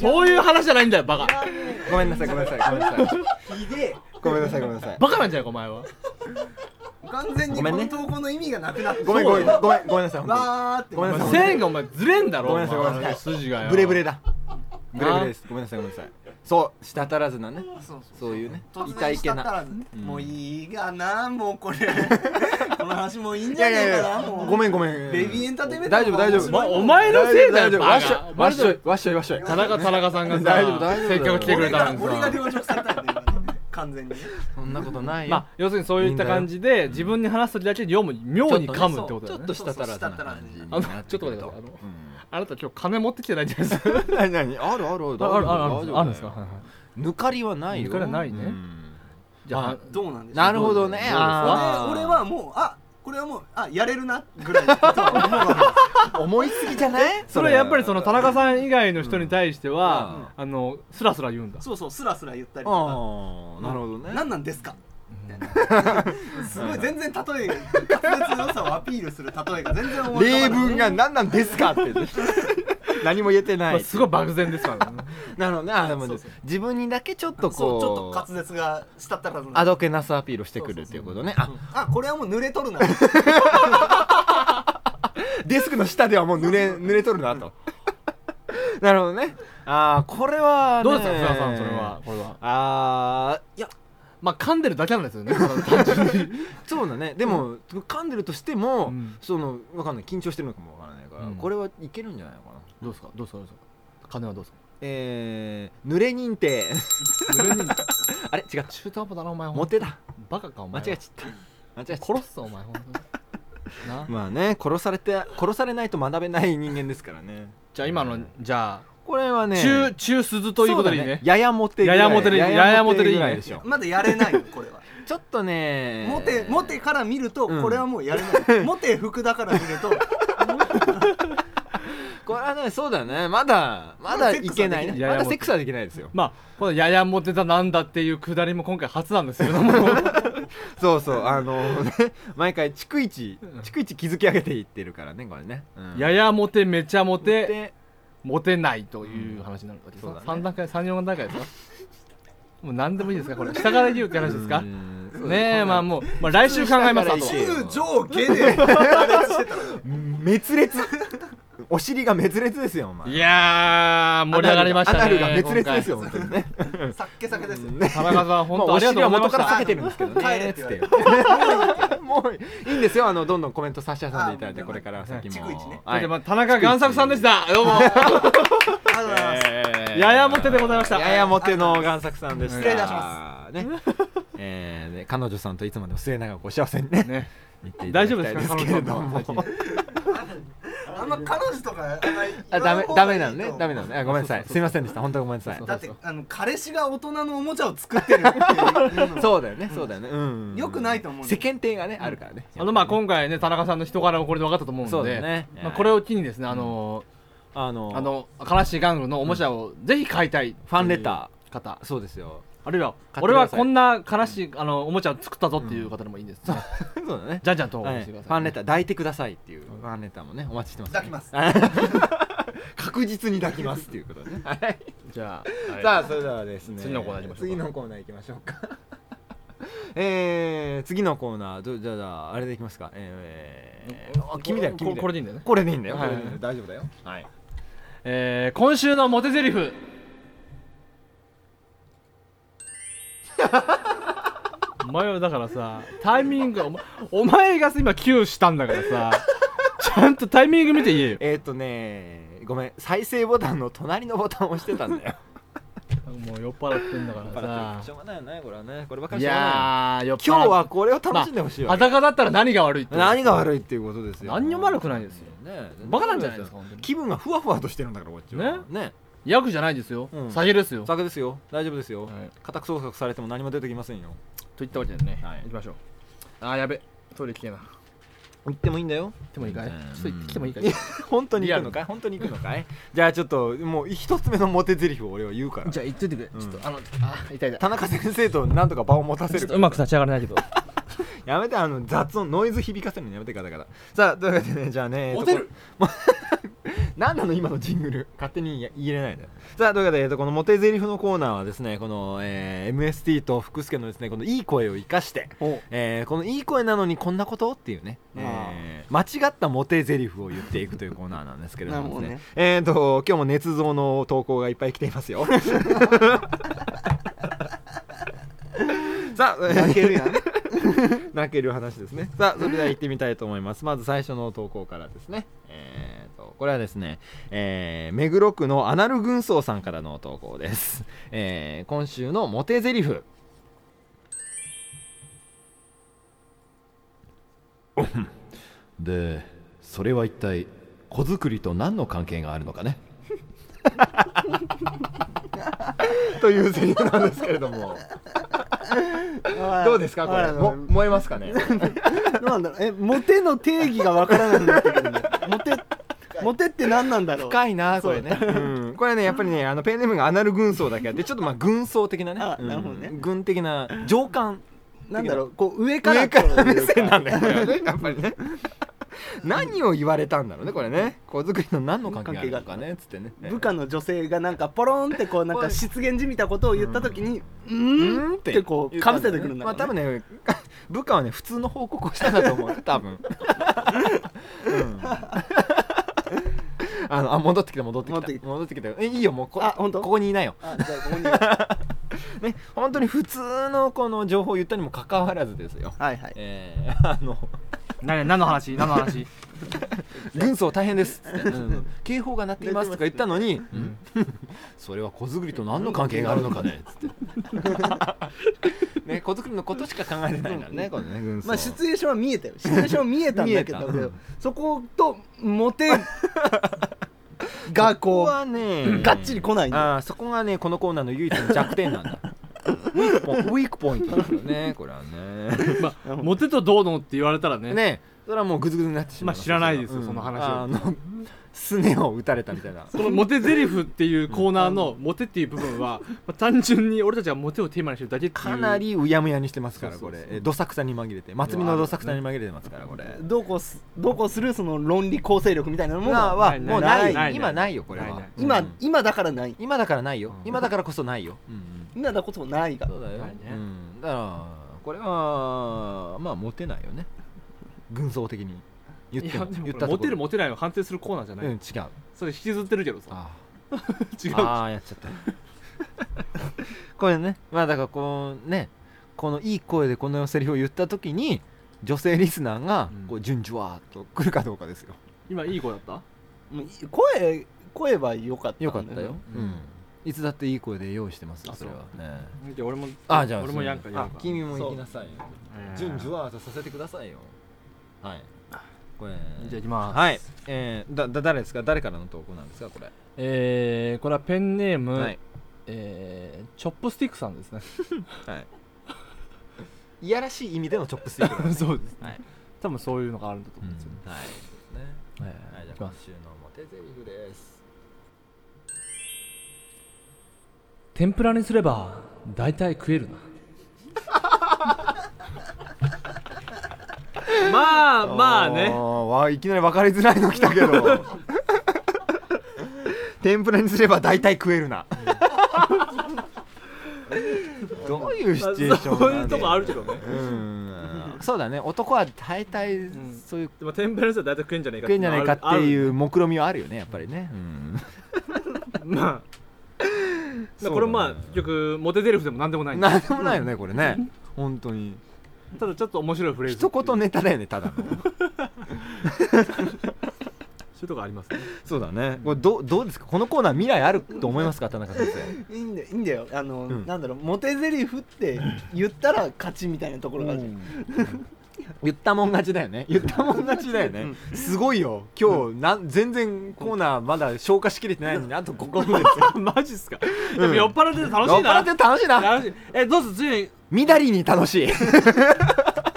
Speaker 2: そういう話じゃないんだよバカ
Speaker 3: ごめんなさいごめんなさいごめんなさい
Speaker 4: ひでえ
Speaker 3: ごめんなさいごめん なさい
Speaker 2: バカなんじゃないかお前は
Speaker 4: 完全に
Speaker 3: ご
Speaker 4: こ
Speaker 3: めんね
Speaker 4: の投稿の意味がなくなって
Speaker 3: ごめんごめんごめんごめんなさい本
Speaker 4: わーって
Speaker 3: ごめんなさい
Speaker 2: 線がお前ずれんだろ
Speaker 3: ごめんなさい
Speaker 2: お前
Speaker 3: ごめんなさい
Speaker 2: 筋が
Speaker 3: 当
Speaker 2: よ
Speaker 3: にブレブレだブレブレですごめんなさいごめんなさいそう舌足らずなね
Speaker 4: そう
Speaker 3: そういうね
Speaker 4: 突然
Speaker 3: 痛いけな
Speaker 4: 舌足らずね
Speaker 3: うん
Speaker 4: もういいがなも うこれこの話もういいん
Speaker 3: い
Speaker 4: じゃ
Speaker 3: やい
Speaker 4: ね
Speaker 3: やい
Speaker 4: えか
Speaker 3: や
Speaker 4: なもう
Speaker 3: ごめんごめん
Speaker 4: ベイビーエンターテインメント
Speaker 3: 大丈夫大丈
Speaker 2: お
Speaker 3: 夫
Speaker 2: 前お前のせいだ
Speaker 3: 大丈
Speaker 2: よ
Speaker 3: 夫
Speaker 2: バカ
Speaker 3: わっしょいわっしょいわっしょいわっしょい
Speaker 2: 田中田中さんがさ
Speaker 3: 大丈夫大丈夫
Speaker 2: せっかく来てくれ
Speaker 4: 俺
Speaker 2: た
Speaker 4: が
Speaker 2: のに
Speaker 4: 俺
Speaker 2: さ
Speaker 4: が領職されたんだよ今ね 完全にね
Speaker 3: そんなことないよ
Speaker 2: まあ要するにそういった感じで自分に話す時だけ読む妙に噛むってことだ
Speaker 3: ちょ
Speaker 2: よ
Speaker 3: っ
Speaker 2: ね
Speaker 3: と舌足らずな感じにな
Speaker 2: あ
Speaker 3: て
Speaker 2: のちょっと待ってくださいあの
Speaker 3: くるうん
Speaker 2: あなた今日金持ってきてないじゃないですか
Speaker 3: なになにあるある大丈夫
Speaker 2: あるあるあ
Speaker 3: 大
Speaker 2: るあ
Speaker 3: 丈夫
Speaker 2: るあるんですかはいはい
Speaker 3: 抜かりはないよ
Speaker 2: 抜かりはないね
Speaker 3: うん
Speaker 2: じゃあ
Speaker 4: どうなんでしょう
Speaker 3: なるほどね
Speaker 4: 俺
Speaker 3: あー
Speaker 4: 俺はもうあこれはもうあやれるなぐらいのことは思うわ けです
Speaker 3: 思いすぎじゃない
Speaker 2: それはやっぱりその田中さん以外の人に対しては、あのスラスラ言うんだ
Speaker 4: そうそうスラスラ言ったりとか
Speaker 3: ああなるほどね
Speaker 4: 何なんですかみたいな すごい全然例え滑舌の良さをアピールする例えが全然思い浮
Speaker 3: 例
Speaker 4: かばない
Speaker 3: 文が何なんですかって 何も言えて
Speaker 2: ま
Speaker 3: な
Speaker 2: あ
Speaker 3: い
Speaker 2: すごい漠然ですからね
Speaker 3: なるほどねあでも
Speaker 4: そうそう
Speaker 3: 自分にだけちょっと
Speaker 4: そ
Speaker 3: こ
Speaker 4: う
Speaker 3: う
Speaker 4: ちょっと滑舌がしたったらず
Speaker 3: あどけなすアピールをしてくるっていうことねあ
Speaker 4: あこれはもう濡れとるな
Speaker 3: デスクの下ではもう濡れ濡れとるなと なるほどねああこれはね
Speaker 2: どうですか福田さんそれはこれは
Speaker 3: ああいや
Speaker 2: まあ噛んでるだけなんですよねただ単純に
Speaker 3: そうだねでも、噛んでるとしても、
Speaker 2: うん
Speaker 3: そのわかんない緊張してるのかもわからないから、
Speaker 2: うん
Speaker 3: これはいけるんじゃないのかな
Speaker 2: どうですかどうですかどうですか金はどう ですか
Speaker 3: えー、濡れ認定 あれ違った
Speaker 2: 中途半端だなお前
Speaker 3: モテだ
Speaker 2: バカかお
Speaker 3: 間
Speaker 2: 前
Speaker 3: 違えちゃった間違えちゃった
Speaker 2: 殺すぞお前 本当にな
Speaker 3: まあね殺されて殺されないと学べない人間ですからね
Speaker 2: じゃあ今のじゃ
Speaker 3: これは
Speaker 2: あ
Speaker 3: ね
Speaker 2: 中中鈴ということでいい
Speaker 3: そだ
Speaker 2: ね
Speaker 3: ややモテぐらい
Speaker 2: ややモテでややモテでいいね
Speaker 3: ぐらでしょ
Speaker 4: まだやれないよこれは
Speaker 3: ちょっとね
Speaker 4: モテモテから見ると
Speaker 3: うん
Speaker 4: これはもうやれ ないモテ福田から見ると
Speaker 3: これはねそうだねまだまだいけないね
Speaker 2: ややモテ
Speaker 3: まだセックスはできないですよ
Speaker 2: まあこのややモテだなんだっていうくだりも今回初なんですけ ども
Speaker 3: そうそうあのね毎回逐一
Speaker 2: うん
Speaker 3: 逐一築き上げていってるからねこれね、うん
Speaker 2: ややモテめちゃモ
Speaker 3: モ
Speaker 2: テ
Speaker 3: テ
Speaker 2: モテないという話になるわけです
Speaker 3: そうだ
Speaker 2: か
Speaker 3: ね
Speaker 2: 3段階34段階ですかもう何でもいいですかこれ下から言うって話ですか
Speaker 3: うんそうだ
Speaker 2: ねえまあもう、まあ、来週考えますあと
Speaker 3: 普通に
Speaker 4: 中上下 で羅列してたら
Speaker 3: 滅裂お尻が滅裂ですよお前
Speaker 2: いやー盛り上がりましたね
Speaker 3: アナルが滅裂ですよ本当にね
Speaker 4: さっけさけですよ
Speaker 2: 今回田中さん本当ありがとうございました、
Speaker 3: まあお尻は元から避けてるんですけどね
Speaker 4: 帰れって言
Speaker 3: つって もういいんですよあのどんどんコメント差し挟んでいただいて
Speaker 4: あ
Speaker 3: これから先も
Speaker 4: 逐一ね
Speaker 2: それ
Speaker 3: はい
Speaker 2: でまあ田中贋作さんで したどうも
Speaker 4: ありがとうございます
Speaker 3: えー
Speaker 2: ややモテでございました
Speaker 3: ややモテの贋作さんでした
Speaker 2: 失礼い
Speaker 4: たし
Speaker 3: ま すねえーね彼女さんといつまでも末永くお幸せにね
Speaker 2: ね
Speaker 3: 言っていただ
Speaker 2: 大
Speaker 3: き
Speaker 2: 丈夫
Speaker 3: た
Speaker 2: です
Speaker 3: いで
Speaker 2: か彼
Speaker 3: すけ
Speaker 2: 女
Speaker 3: れ
Speaker 2: さ
Speaker 3: ど
Speaker 2: ん
Speaker 3: も
Speaker 2: 最近
Speaker 4: あんま彼女とかあんまり
Speaker 3: あダメダメなのねダメ
Speaker 4: な
Speaker 3: なのねあごめんなさいすいませんでした本当にごめんなさい
Speaker 4: だってあの彼氏が大人のおもちゃを作ってるっていうの
Speaker 3: そうだよねそうだよねうん
Speaker 4: 良くないと思うんだ
Speaker 3: 世間
Speaker 4: よ
Speaker 3: 体がねあるからね
Speaker 2: あのまあ今回ね田中さんの人柄もこれで分かったと思う
Speaker 3: そ
Speaker 2: の
Speaker 3: うだ
Speaker 2: で
Speaker 3: よね
Speaker 2: まあ、これを機にですねあの
Speaker 3: あの
Speaker 2: ーあの悲しい玩具のおもちゃをぜひ買いたい
Speaker 3: ファンレタ
Speaker 2: ー方
Speaker 3: そうですよ
Speaker 2: あるいは
Speaker 3: 買ってください
Speaker 2: 俺はこんな悲しいあのおもちゃを作ったぞっていう方でもいいんですね、
Speaker 3: そうだね
Speaker 2: じゃんじゃん投稿
Speaker 3: はい
Speaker 2: して
Speaker 3: フ
Speaker 2: ください、
Speaker 3: ァンレター抱いてくださいっていうファンレターもねお待ちしてます
Speaker 4: 抱きます
Speaker 3: 確実に抱きますっていうことねはい
Speaker 2: じゃあ、
Speaker 3: さあそれではですね
Speaker 2: 次のコーナー行きましょうか
Speaker 3: 次のコーナー行きましょうか えー、次のコーナーどじゃあじゃああれでいきますかえー、あ君だよ
Speaker 2: こ
Speaker 3: 君だよ
Speaker 2: これでいいんだよね
Speaker 3: これでいいんだよ、
Speaker 2: はい
Speaker 3: これでいいんだよ大丈夫だよはい
Speaker 2: えー、今週のモテゼリフお前はだからさタイミングお前お前がさ今 Q したんだからさちゃんとタイミング見て言えよ
Speaker 3: えっ、ー、とねごめん再生ボタンの隣のボタンを押してたん だよ
Speaker 2: もう酔っ払ってんだから
Speaker 3: しょうがないよねこれはねこればっか
Speaker 2: さ
Speaker 3: り
Speaker 2: い
Speaker 3: しょうがな
Speaker 2: や
Speaker 3: い
Speaker 2: ー酔っ払っ
Speaker 3: 今日はこれを楽しんでほしいわけ、
Speaker 2: 裸だったら何が悪いって
Speaker 3: 何が悪いっていうことですよ
Speaker 2: 何にも悪くないですよ
Speaker 3: ね
Speaker 2: バカなんじゃないですか本当に
Speaker 3: 気分がふわふわとしてるんだからこっちはね
Speaker 2: 役じゃないですよ、
Speaker 3: うん
Speaker 2: 酒ですよ
Speaker 3: 酒ですよ大丈夫ですよ、
Speaker 2: はい
Speaker 3: 家宅捜索されても何も出てきませんよ
Speaker 2: といったわけでね、
Speaker 3: はい
Speaker 2: 行きましょうあーやべトイレ行けな
Speaker 3: 行ってもいいんだよ
Speaker 2: 行ってもいいかい、
Speaker 3: うん
Speaker 2: ちょっと行ってきてもいいかい、
Speaker 3: 本当に行くのかい本当に行くのかいじゃあちょっともう一つ目のモテ台詞を俺は言うから
Speaker 2: じゃあ行っといてくれ、
Speaker 3: うん
Speaker 2: ちょっとあのあー痛い痛い
Speaker 3: 田中先生となんとか場を持たせ
Speaker 2: ちょっ
Speaker 3: る
Speaker 2: とうまく立ち上がれないけど
Speaker 3: やめてあの雑音ノイズ響かせるのやめてガタガタさあというわけでねじゃあね
Speaker 4: モテる
Speaker 3: 何なの今のジングル勝手に言えないでさあというわけで、えっと、このモテゼリフのコーナーはですねこの、えー MST と福助のですねこのいい声を生かして、えーこのいい声なのにこんなことっていうね、えー間違ったモテゼリフを言っていくというコーナーなんですけれどもですね
Speaker 4: なる
Speaker 3: えっ、と今日も捏造の投稿がいっぱい来てい ますよさあ
Speaker 4: 泣けるやん
Speaker 3: 泣ける話ですねさあそれでは行ってみたいと思いますまず最初の投稿からですねえーとこれはですね、えー目黒区のアナル軍曹さんからの投稿です、えー今週のモテゼリフ
Speaker 5: でそれは一体子作りと何の関係があるのか ね
Speaker 3: というセリフなんですけれどもどうですかこ
Speaker 4: わ
Speaker 3: れ
Speaker 4: ら
Speaker 3: も
Speaker 4: の
Speaker 3: 燃えますかね
Speaker 4: なんだろうえモテの定義がわからないんだけどねモテモテって何なんだろう
Speaker 3: いなこれね、うんこれねやっぱりねあのペンネームがアナル軍曹だけあってちょっとまあ軍曹的なね
Speaker 4: あなるほどね
Speaker 3: うん軍的な上官
Speaker 4: なんだろうこう上から
Speaker 3: 上から
Speaker 4: こう
Speaker 3: 目線なんだよこ れはねやっぱりね何を言われたんだろうねこれね子作りの何の関係があるのかねつってね
Speaker 4: 部下の女性がなんかポロンってこうなんか失言じみたことを言った時に「うーん?」ってこうかぶせてくるんだ
Speaker 3: まあ多
Speaker 4: ろう
Speaker 3: 分
Speaker 4: ね
Speaker 3: ね 部下はね普通の報告をしたんだと思う多分、うんあのあ戻ってきた戻ってきた
Speaker 4: 戻ってき
Speaker 3: 戻ってきたえいいよもうこ
Speaker 4: あ本当
Speaker 3: ここにいないよ
Speaker 4: あじゃあここに は
Speaker 3: ね本当に普通のこの情報を言ったにもかかわらずですよ
Speaker 4: いはい
Speaker 3: えー、 あの
Speaker 2: 何何の 話何の話
Speaker 3: 軍曹大変ですっつって、 うん警報が鳴っていますとか言ったのに、うん それは子作りと何の関係があるのかね っつってね子作りのことしか考えてないからねこのね軍曹
Speaker 4: まあシチュエーションは見えたよシチュエーションは見えたんだけ
Speaker 3: 見え
Speaker 4: どそことモ テが
Speaker 3: ここ
Speaker 4: こ
Speaker 3: はね
Speaker 4: うがっちり来ないんだよ
Speaker 3: あーそこがねこのコーナーの唯一の弱点なんだウィークポイントウィークポイントですよねこれはね
Speaker 2: まあモテとどうのって言われたらね
Speaker 3: ねそれはもうグズグズになってしまい
Speaker 2: まあ知らないですよその話は
Speaker 3: あのすねを打たれたみたいな
Speaker 2: そのモテゼリフっていうコーナー のモテっていう部分は、まあ、単純に俺たちがモテをテーマにしてるだけっていう
Speaker 3: かなりうやむやにしてますから
Speaker 2: そうそ
Speaker 3: こ
Speaker 2: うそう
Speaker 3: れえどさくさに紛れて松見のどさくさに紛れてますからこれ
Speaker 4: どうこうすどうこうするその論理構成力みたいなもの
Speaker 3: まあ
Speaker 4: は
Speaker 3: はもう
Speaker 4: な
Speaker 3: ない
Speaker 2: ない
Speaker 3: い今ないよこれ
Speaker 2: ない
Speaker 3: は
Speaker 2: ない
Speaker 3: うん
Speaker 4: 今今だからない
Speaker 3: 今だからないよ
Speaker 2: うん
Speaker 3: 今だからこそないよ
Speaker 4: 今だことないが
Speaker 3: そうだよ
Speaker 2: ないね
Speaker 3: うんだからこれはまあモテないよね軍曹的に言っても
Speaker 2: いやでも
Speaker 3: 言っ
Speaker 2: こ
Speaker 3: た
Speaker 2: れ
Speaker 3: と
Speaker 2: モ
Speaker 3: こ
Speaker 2: テ
Speaker 3: ろ
Speaker 2: るモテないを判定するコーナーじゃない、
Speaker 3: うん違う
Speaker 2: それ引きずってるけどさ
Speaker 3: あ
Speaker 2: 違
Speaker 3: ー
Speaker 2: う
Speaker 3: あーやっちゃったこれねまあだからこうねこのいい声でこのセリフを言った時に女性リスナーが
Speaker 2: うん
Speaker 3: こう順序わーっと来るかどうかですよ
Speaker 2: 今いい子だった
Speaker 4: もう声声は良かった
Speaker 3: よかったよ、
Speaker 2: うん
Speaker 3: うんいつだっていい声で用意してますよ
Speaker 2: あ
Speaker 3: それは
Speaker 2: そ
Speaker 3: ね
Speaker 2: じゃあ俺も
Speaker 3: あじゃあ
Speaker 2: 俺もやんかやんか
Speaker 3: 君も
Speaker 4: そ
Speaker 3: 行
Speaker 4: う
Speaker 3: きなさいよ
Speaker 2: えー
Speaker 3: 順序はさせてくださいよはいこれ
Speaker 2: じゃあ行きます
Speaker 3: はいえー、だだ誰ですか誰からの投稿なんですかこれ、
Speaker 2: えー、これはペンネーム、
Speaker 3: はい
Speaker 2: えーチョップスティックさんですね
Speaker 3: はいいやらしい意味でのチョップスティックだ ね
Speaker 2: そうです
Speaker 3: はい
Speaker 2: 多分そういうのがあるんだと
Speaker 3: う
Speaker 2: 思
Speaker 3: ん
Speaker 2: うんですよ、
Speaker 3: はいね
Speaker 2: えー
Speaker 3: はいじゃあ
Speaker 2: いき
Speaker 3: 今
Speaker 2: ます
Speaker 3: 週のモテゼリフです
Speaker 2: 天ぷらにすれば大体食えるな まあまあ
Speaker 3: ー
Speaker 2: ね
Speaker 3: わいきなり分かりづらいの来たけど天ぷらにすれば大体食えるな どういうシチュエーション
Speaker 2: そう
Speaker 3: ないん
Speaker 2: う
Speaker 3: だ
Speaker 2: と
Speaker 3: よ
Speaker 2: こあるけどね
Speaker 3: うんそうだね男は大体
Speaker 2: ん
Speaker 3: そういう
Speaker 2: でもテンペラスは大体食えんじゃねえか
Speaker 3: 食えんじゃないかって
Speaker 2: う
Speaker 3: いう目論見はあるよねやっぱりね、うん
Speaker 2: まあ、これまあ結局モテゼルフでも何でもないんだ
Speaker 3: なんでもないよねこれね本当に
Speaker 2: ただちょっと面白いフレーズってい
Speaker 3: 一
Speaker 2: う
Speaker 3: 言ネタだよねただ
Speaker 2: そ
Speaker 3: の
Speaker 2: ういうとこありますね
Speaker 3: そうだねこれどうどうですかこのコーナー未来あると思いますか田中先生
Speaker 4: いいんだいいんだよあの、
Speaker 3: うん
Speaker 4: なんだろうモテゼリフって言ったら勝ちみたいなところがあるじゃん
Speaker 3: 言ったもん勝ちだよね言ったもん勝ちだよねすごいよ今日なん全然コーナーまだ消化しきれてないのにあと5分です
Speaker 2: マジっすか、
Speaker 3: ん
Speaker 2: でも酔っ払ってて楽し
Speaker 3: 酔
Speaker 2: い
Speaker 3: っ払
Speaker 2: な
Speaker 3: って楽しいな
Speaker 2: 楽しいえどうすついにちょ
Speaker 3: 緑に楽しい
Speaker 2: っと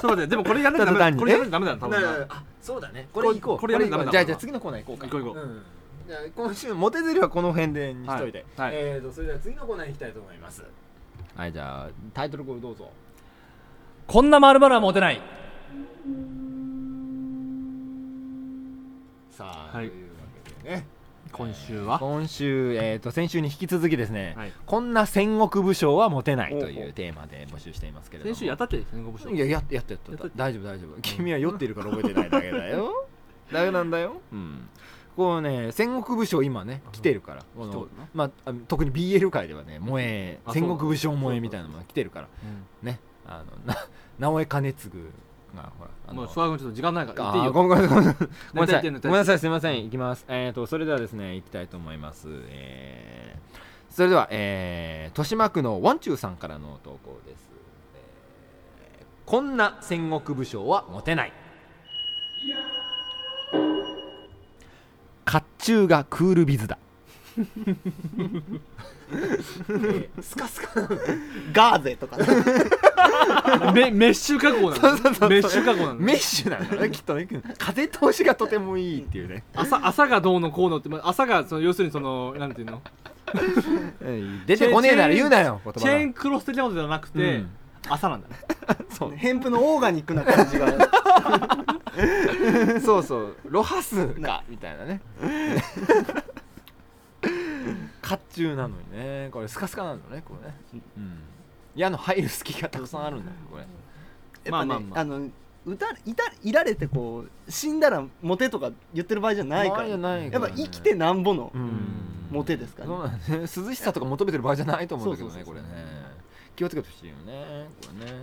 Speaker 2: 待ってでもこれやらなきゃ
Speaker 3: た
Speaker 2: ダ
Speaker 3: だ単
Speaker 2: メ
Speaker 3: に
Speaker 2: これやらなきゃダメだな多分な
Speaker 3: あそうだねこ
Speaker 2: れ行こう
Speaker 3: これやるんだ
Speaker 2: これ行こう
Speaker 3: じゃあじゃあ次のコーナー行こうか
Speaker 2: 行こう行こう
Speaker 3: うんじゃあ今週モテゼリはこの辺でにしといて、
Speaker 2: はいはい
Speaker 3: えーとそれでは次のコーナーに行きたいと思いますはいじゃあタイトルコールどうぞ
Speaker 2: こんな丸々はモテない
Speaker 3: さあ、
Speaker 2: はい
Speaker 3: というわけでね
Speaker 2: 今週は
Speaker 3: 今週、えー、と先週に引き続きですね、
Speaker 2: はい
Speaker 3: こんな戦国武将はモテないと
Speaker 2: おう
Speaker 3: い
Speaker 2: おう
Speaker 3: うテーマで募集していますけれども
Speaker 2: 先週やったって戦国武将
Speaker 3: いやややったやった
Speaker 2: やった
Speaker 3: 大丈夫大丈夫君は酔ってるから覚えてないだけだよだけなんだようんこうね戦国武将今ね来てるからこ
Speaker 2: 来てる
Speaker 3: の
Speaker 2: な、
Speaker 3: まああの、特に BL 界ではね萌え
Speaker 2: あ
Speaker 3: 戦
Speaker 2: そうだ
Speaker 3: 国武将萌えみたいなのが来てるからねあのな 直江兼次がほらあ
Speaker 2: も
Speaker 3: の
Speaker 2: う諏訪君ちょっと時間ないから行
Speaker 3: あ
Speaker 2: っていい
Speaker 3: ー
Speaker 2: よ
Speaker 3: ごめんごめんごめんごめんなさい
Speaker 2: 大体言ってんの
Speaker 3: ごめんなさいすみませんいきますえー、とそれではですねいきたいと思いますえー、それではえー、豊島区のワンチューさんからの投稿です、えーこんな戦国武将はモテない甲冑がクールビズだ、えースカスカなの
Speaker 4: ガーゼとかね
Speaker 2: メメッシュ加工な
Speaker 3: そうそうそ
Speaker 2: の
Speaker 3: う
Speaker 2: メッシュ加工なの
Speaker 3: メッシュなんだねきっとね風通しがとてもいいっていうね
Speaker 2: 朝朝がどうのこうのってまあ朝がその要するにそのなんていうの
Speaker 3: 出てこねえなら言うなよ言葉
Speaker 2: チェーンクロス的なことじゃなくて、
Speaker 3: うん
Speaker 2: 朝なんだね
Speaker 3: そう
Speaker 4: ヘンプのオーガニックな感 じが
Speaker 3: そうそうロハスかみたいなね甲冑なのにねこれスカスカなんだねこれねうん矢の入る隙がたくさんあるんだよこれ
Speaker 4: やっ
Speaker 2: ま
Speaker 4: ぱね、ま
Speaker 2: あ
Speaker 4: あ
Speaker 2: ま
Speaker 4: ま
Speaker 2: あ
Speaker 4: あ
Speaker 2: まあ
Speaker 4: の撃たいたいられてこう死んだらモテとか言ってる場合じゃないから、
Speaker 3: じゃないか
Speaker 4: やっ
Speaker 3: ら
Speaker 4: ぱ
Speaker 3: ね
Speaker 4: 生きてなんぼの
Speaker 3: うん
Speaker 4: モテですからね
Speaker 3: そうなんだね涼しさとか求めてる場合じゃないと思うんだけどねこ
Speaker 4: そうそ
Speaker 3: れ
Speaker 4: う
Speaker 3: ね
Speaker 4: そうそう
Speaker 3: 気をつけてほしいよねこれねね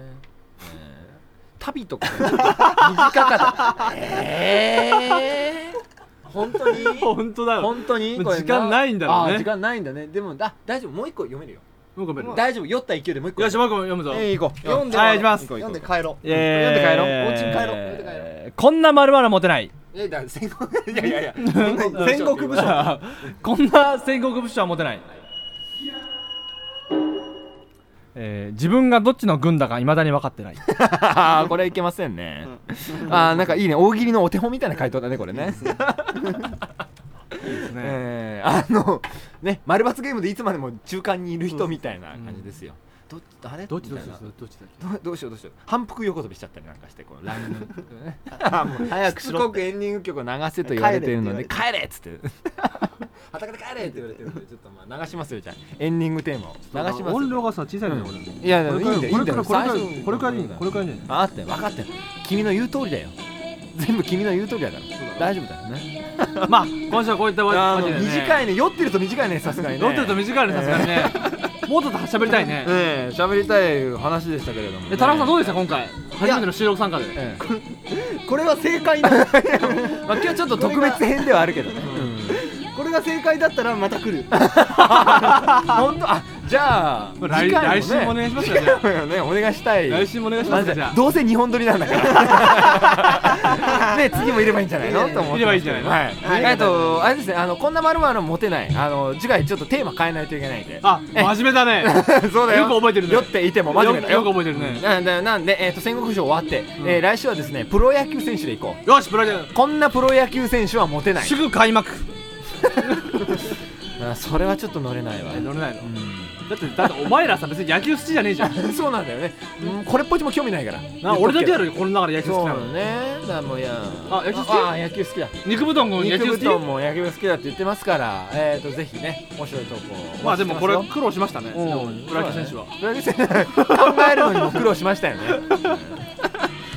Speaker 3: 旅とかね 短かったええ本当に
Speaker 2: 本当だよ
Speaker 3: 本当に
Speaker 2: もう時間ないんだろうね
Speaker 3: あー時間ないんだねでもあ大丈夫もう一個読めるよ
Speaker 2: もうごめんよ
Speaker 3: 大丈夫酔った勢いでもう一個
Speaker 2: しマコ読むぞ、
Speaker 3: えー行こう
Speaker 4: 読んで
Speaker 2: はい行きます
Speaker 3: 行こう行
Speaker 4: 読
Speaker 3: こ
Speaker 4: ん
Speaker 3: う
Speaker 4: で帰ろう
Speaker 2: えー
Speaker 3: 読んで帰ろう
Speaker 2: えー
Speaker 3: お家に帰ろう読んで帰ろう
Speaker 2: こんな丸々モテない
Speaker 3: えだ戦国 いやいやいや
Speaker 4: 戦国武将
Speaker 2: こんな戦国武将はモテない、えー自分がどっちの軍だかいまだに分かってない
Speaker 3: あー これいけませんねあーなんかいいね大喜利のお手本みたいな回答だねこれね えーあのね丸抜ゲームでいつまでも中間にいる人みたいな感じですよどっちあれ
Speaker 2: どっちどっち
Speaker 3: みたいな
Speaker 2: どっちだっけ
Speaker 3: どどうしようどうしよう反復横跳びしちゃったりなんかしてこのラインの、ね、 あもう
Speaker 4: 早く
Speaker 3: し
Speaker 4: し
Speaker 3: つ
Speaker 4: ろ
Speaker 3: こ
Speaker 4: っ
Speaker 3: く
Speaker 4: て
Speaker 3: エンディング曲を流せと言われてるので帰
Speaker 4: 帰
Speaker 3: れっつって裸で帰れって言われてるのでちょっとまあ流しますよじゃあ エンディングテーマを流します
Speaker 2: 音量
Speaker 3: よ
Speaker 2: がさ小さいのよ、俺
Speaker 3: いやいい
Speaker 2: こ
Speaker 3: ん
Speaker 2: れ
Speaker 3: だよいいんだ
Speaker 2: か
Speaker 3: よ
Speaker 2: らこれから
Speaker 3: 最初
Speaker 2: これからいいんだよこれからいいんだよ
Speaker 3: あって分かってる君の言う通りだよ全部君の言う通りだから大丈夫だよね
Speaker 2: まあ今週はこういった
Speaker 3: あ
Speaker 2: わ
Speaker 3: の
Speaker 2: けで、ね、
Speaker 3: 短いね酔ってると短いねさすがにね
Speaker 2: ロッテルと短いねさすがにねもうちょっと喋りたいね
Speaker 3: ええ喋りたい話でしたけれどもね
Speaker 2: え田中さんどうでした今回初めての収録参加で
Speaker 3: ええ
Speaker 4: これは正解なの
Speaker 2: まあ、今日ちょっと特
Speaker 3: 特
Speaker 2: 別
Speaker 3: 別編ではあるけどね
Speaker 4: これが正解だったらまた来る
Speaker 3: 本当あじゃあ
Speaker 2: 来
Speaker 3: 次回
Speaker 2: 来週もお願いしますよじゃあ
Speaker 3: 次回も ねお願いしたい
Speaker 2: 来週もお願いしますよじゃあ
Speaker 3: どうせ日本撮りなん だから。ね次もいればいいんじゃないのと思ってますけど。
Speaker 2: いればいいんじゃないの
Speaker 3: はい。
Speaker 4: はい
Speaker 3: えっとあれですねあのこんなまるまるモテないあの次回ちょっとテーマ変えないといけないんで。
Speaker 2: あ真面目だね
Speaker 3: そうだよ。
Speaker 2: よく覚えてるね
Speaker 3: 酔っていても真面目だよ。
Speaker 2: よく覚えてるね
Speaker 3: なんでなんでえっと戦国賞終わってえー来週はですねプロ野球選手でいこう。
Speaker 2: よしプロ野球
Speaker 3: こんなプロ野球選手はモテない。
Speaker 2: すぐ開幕
Speaker 3: あそれはちょっと乗れないわ、
Speaker 2: 乗れないの
Speaker 3: う
Speaker 2: だってだってお前らさ別に野球好きじゃねえじゃ ん
Speaker 3: ん、そうなんだよね、うん、これっぽっちも興味ないから
Speaker 2: な俺だけや
Speaker 3: る
Speaker 2: ろこの中で野球好
Speaker 3: そ
Speaker 2: き
Speaker 3: う
Speaker 2: な
Speaker 3: な
Speaker 2: の
Speaker 3: のねだもういや
Speaker 2: あ野球好き
Speaker 3: ああ野球好きだ
Speaker 2: 肉ぶどんも野
Speaker 3: 肉
Speaker 2: 球
Speaker 3: 部長
Speaker 2: 好き
Speaker 3: も野球好きだって言ってますからえっ、ー、とぜひね面白い投稿
Speaker 2: まあでもこれは苦労しましたね
Speaker 3: うん
Speaker 2: でも村木選手は
Speaker 3: プロ野球選手考えるのにも苦労しましたよ ね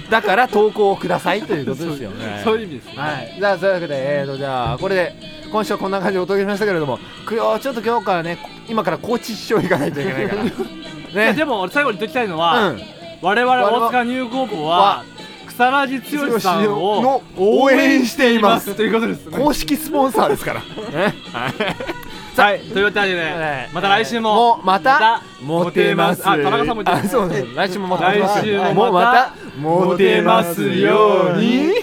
Speaker 3: だから投稿をくださいということですよね
Speaker 2: そういう意味ですね
Speaker 3: はい、じゃあそういうわけで、えー、とじゃあこれで今週はこんな感じでお届けしましたけれどもくよちょっと今日からね今から高知市場行かないといけな いから
Speaker 2: いや
Speaker 3: ね
Speaker 2: でも俺最後に言っときたいの
Speaker 3: う
Speaker 2: は
Speaker 3: ん
Speaker 2: 我々大塚入高校は
Speaker 3: は
Speaker 2: 草ラジ剛さんを
Speaker 3: の
Speaker 2: 応
Speaker 3: 応
Speaker 2: 援
Speaker 3: 援
Speaker 2: し
Speaker 3: してて
Speaker 2: い
Speaker 3: い
Speaker 2: ま
Speaker 3: ますす
Speaker 2: ということですね
Speaker 3: 公式スポンサーですからね
Speaker 2: はいというわけでねまた来週も
Speaker 3: もうまた
Speaker 2: モテます
Speaker 3: あ田中さんも言って
Speaker 2: あ
Speaker 3: あ
Speaker 2: そ
Speaker 3: そうう
Speaker 2: ね
Speaker 3: 来週もまた
Speaker 2: 来週もまた
Speaker 3: もうまた
Speaker 2: モテますように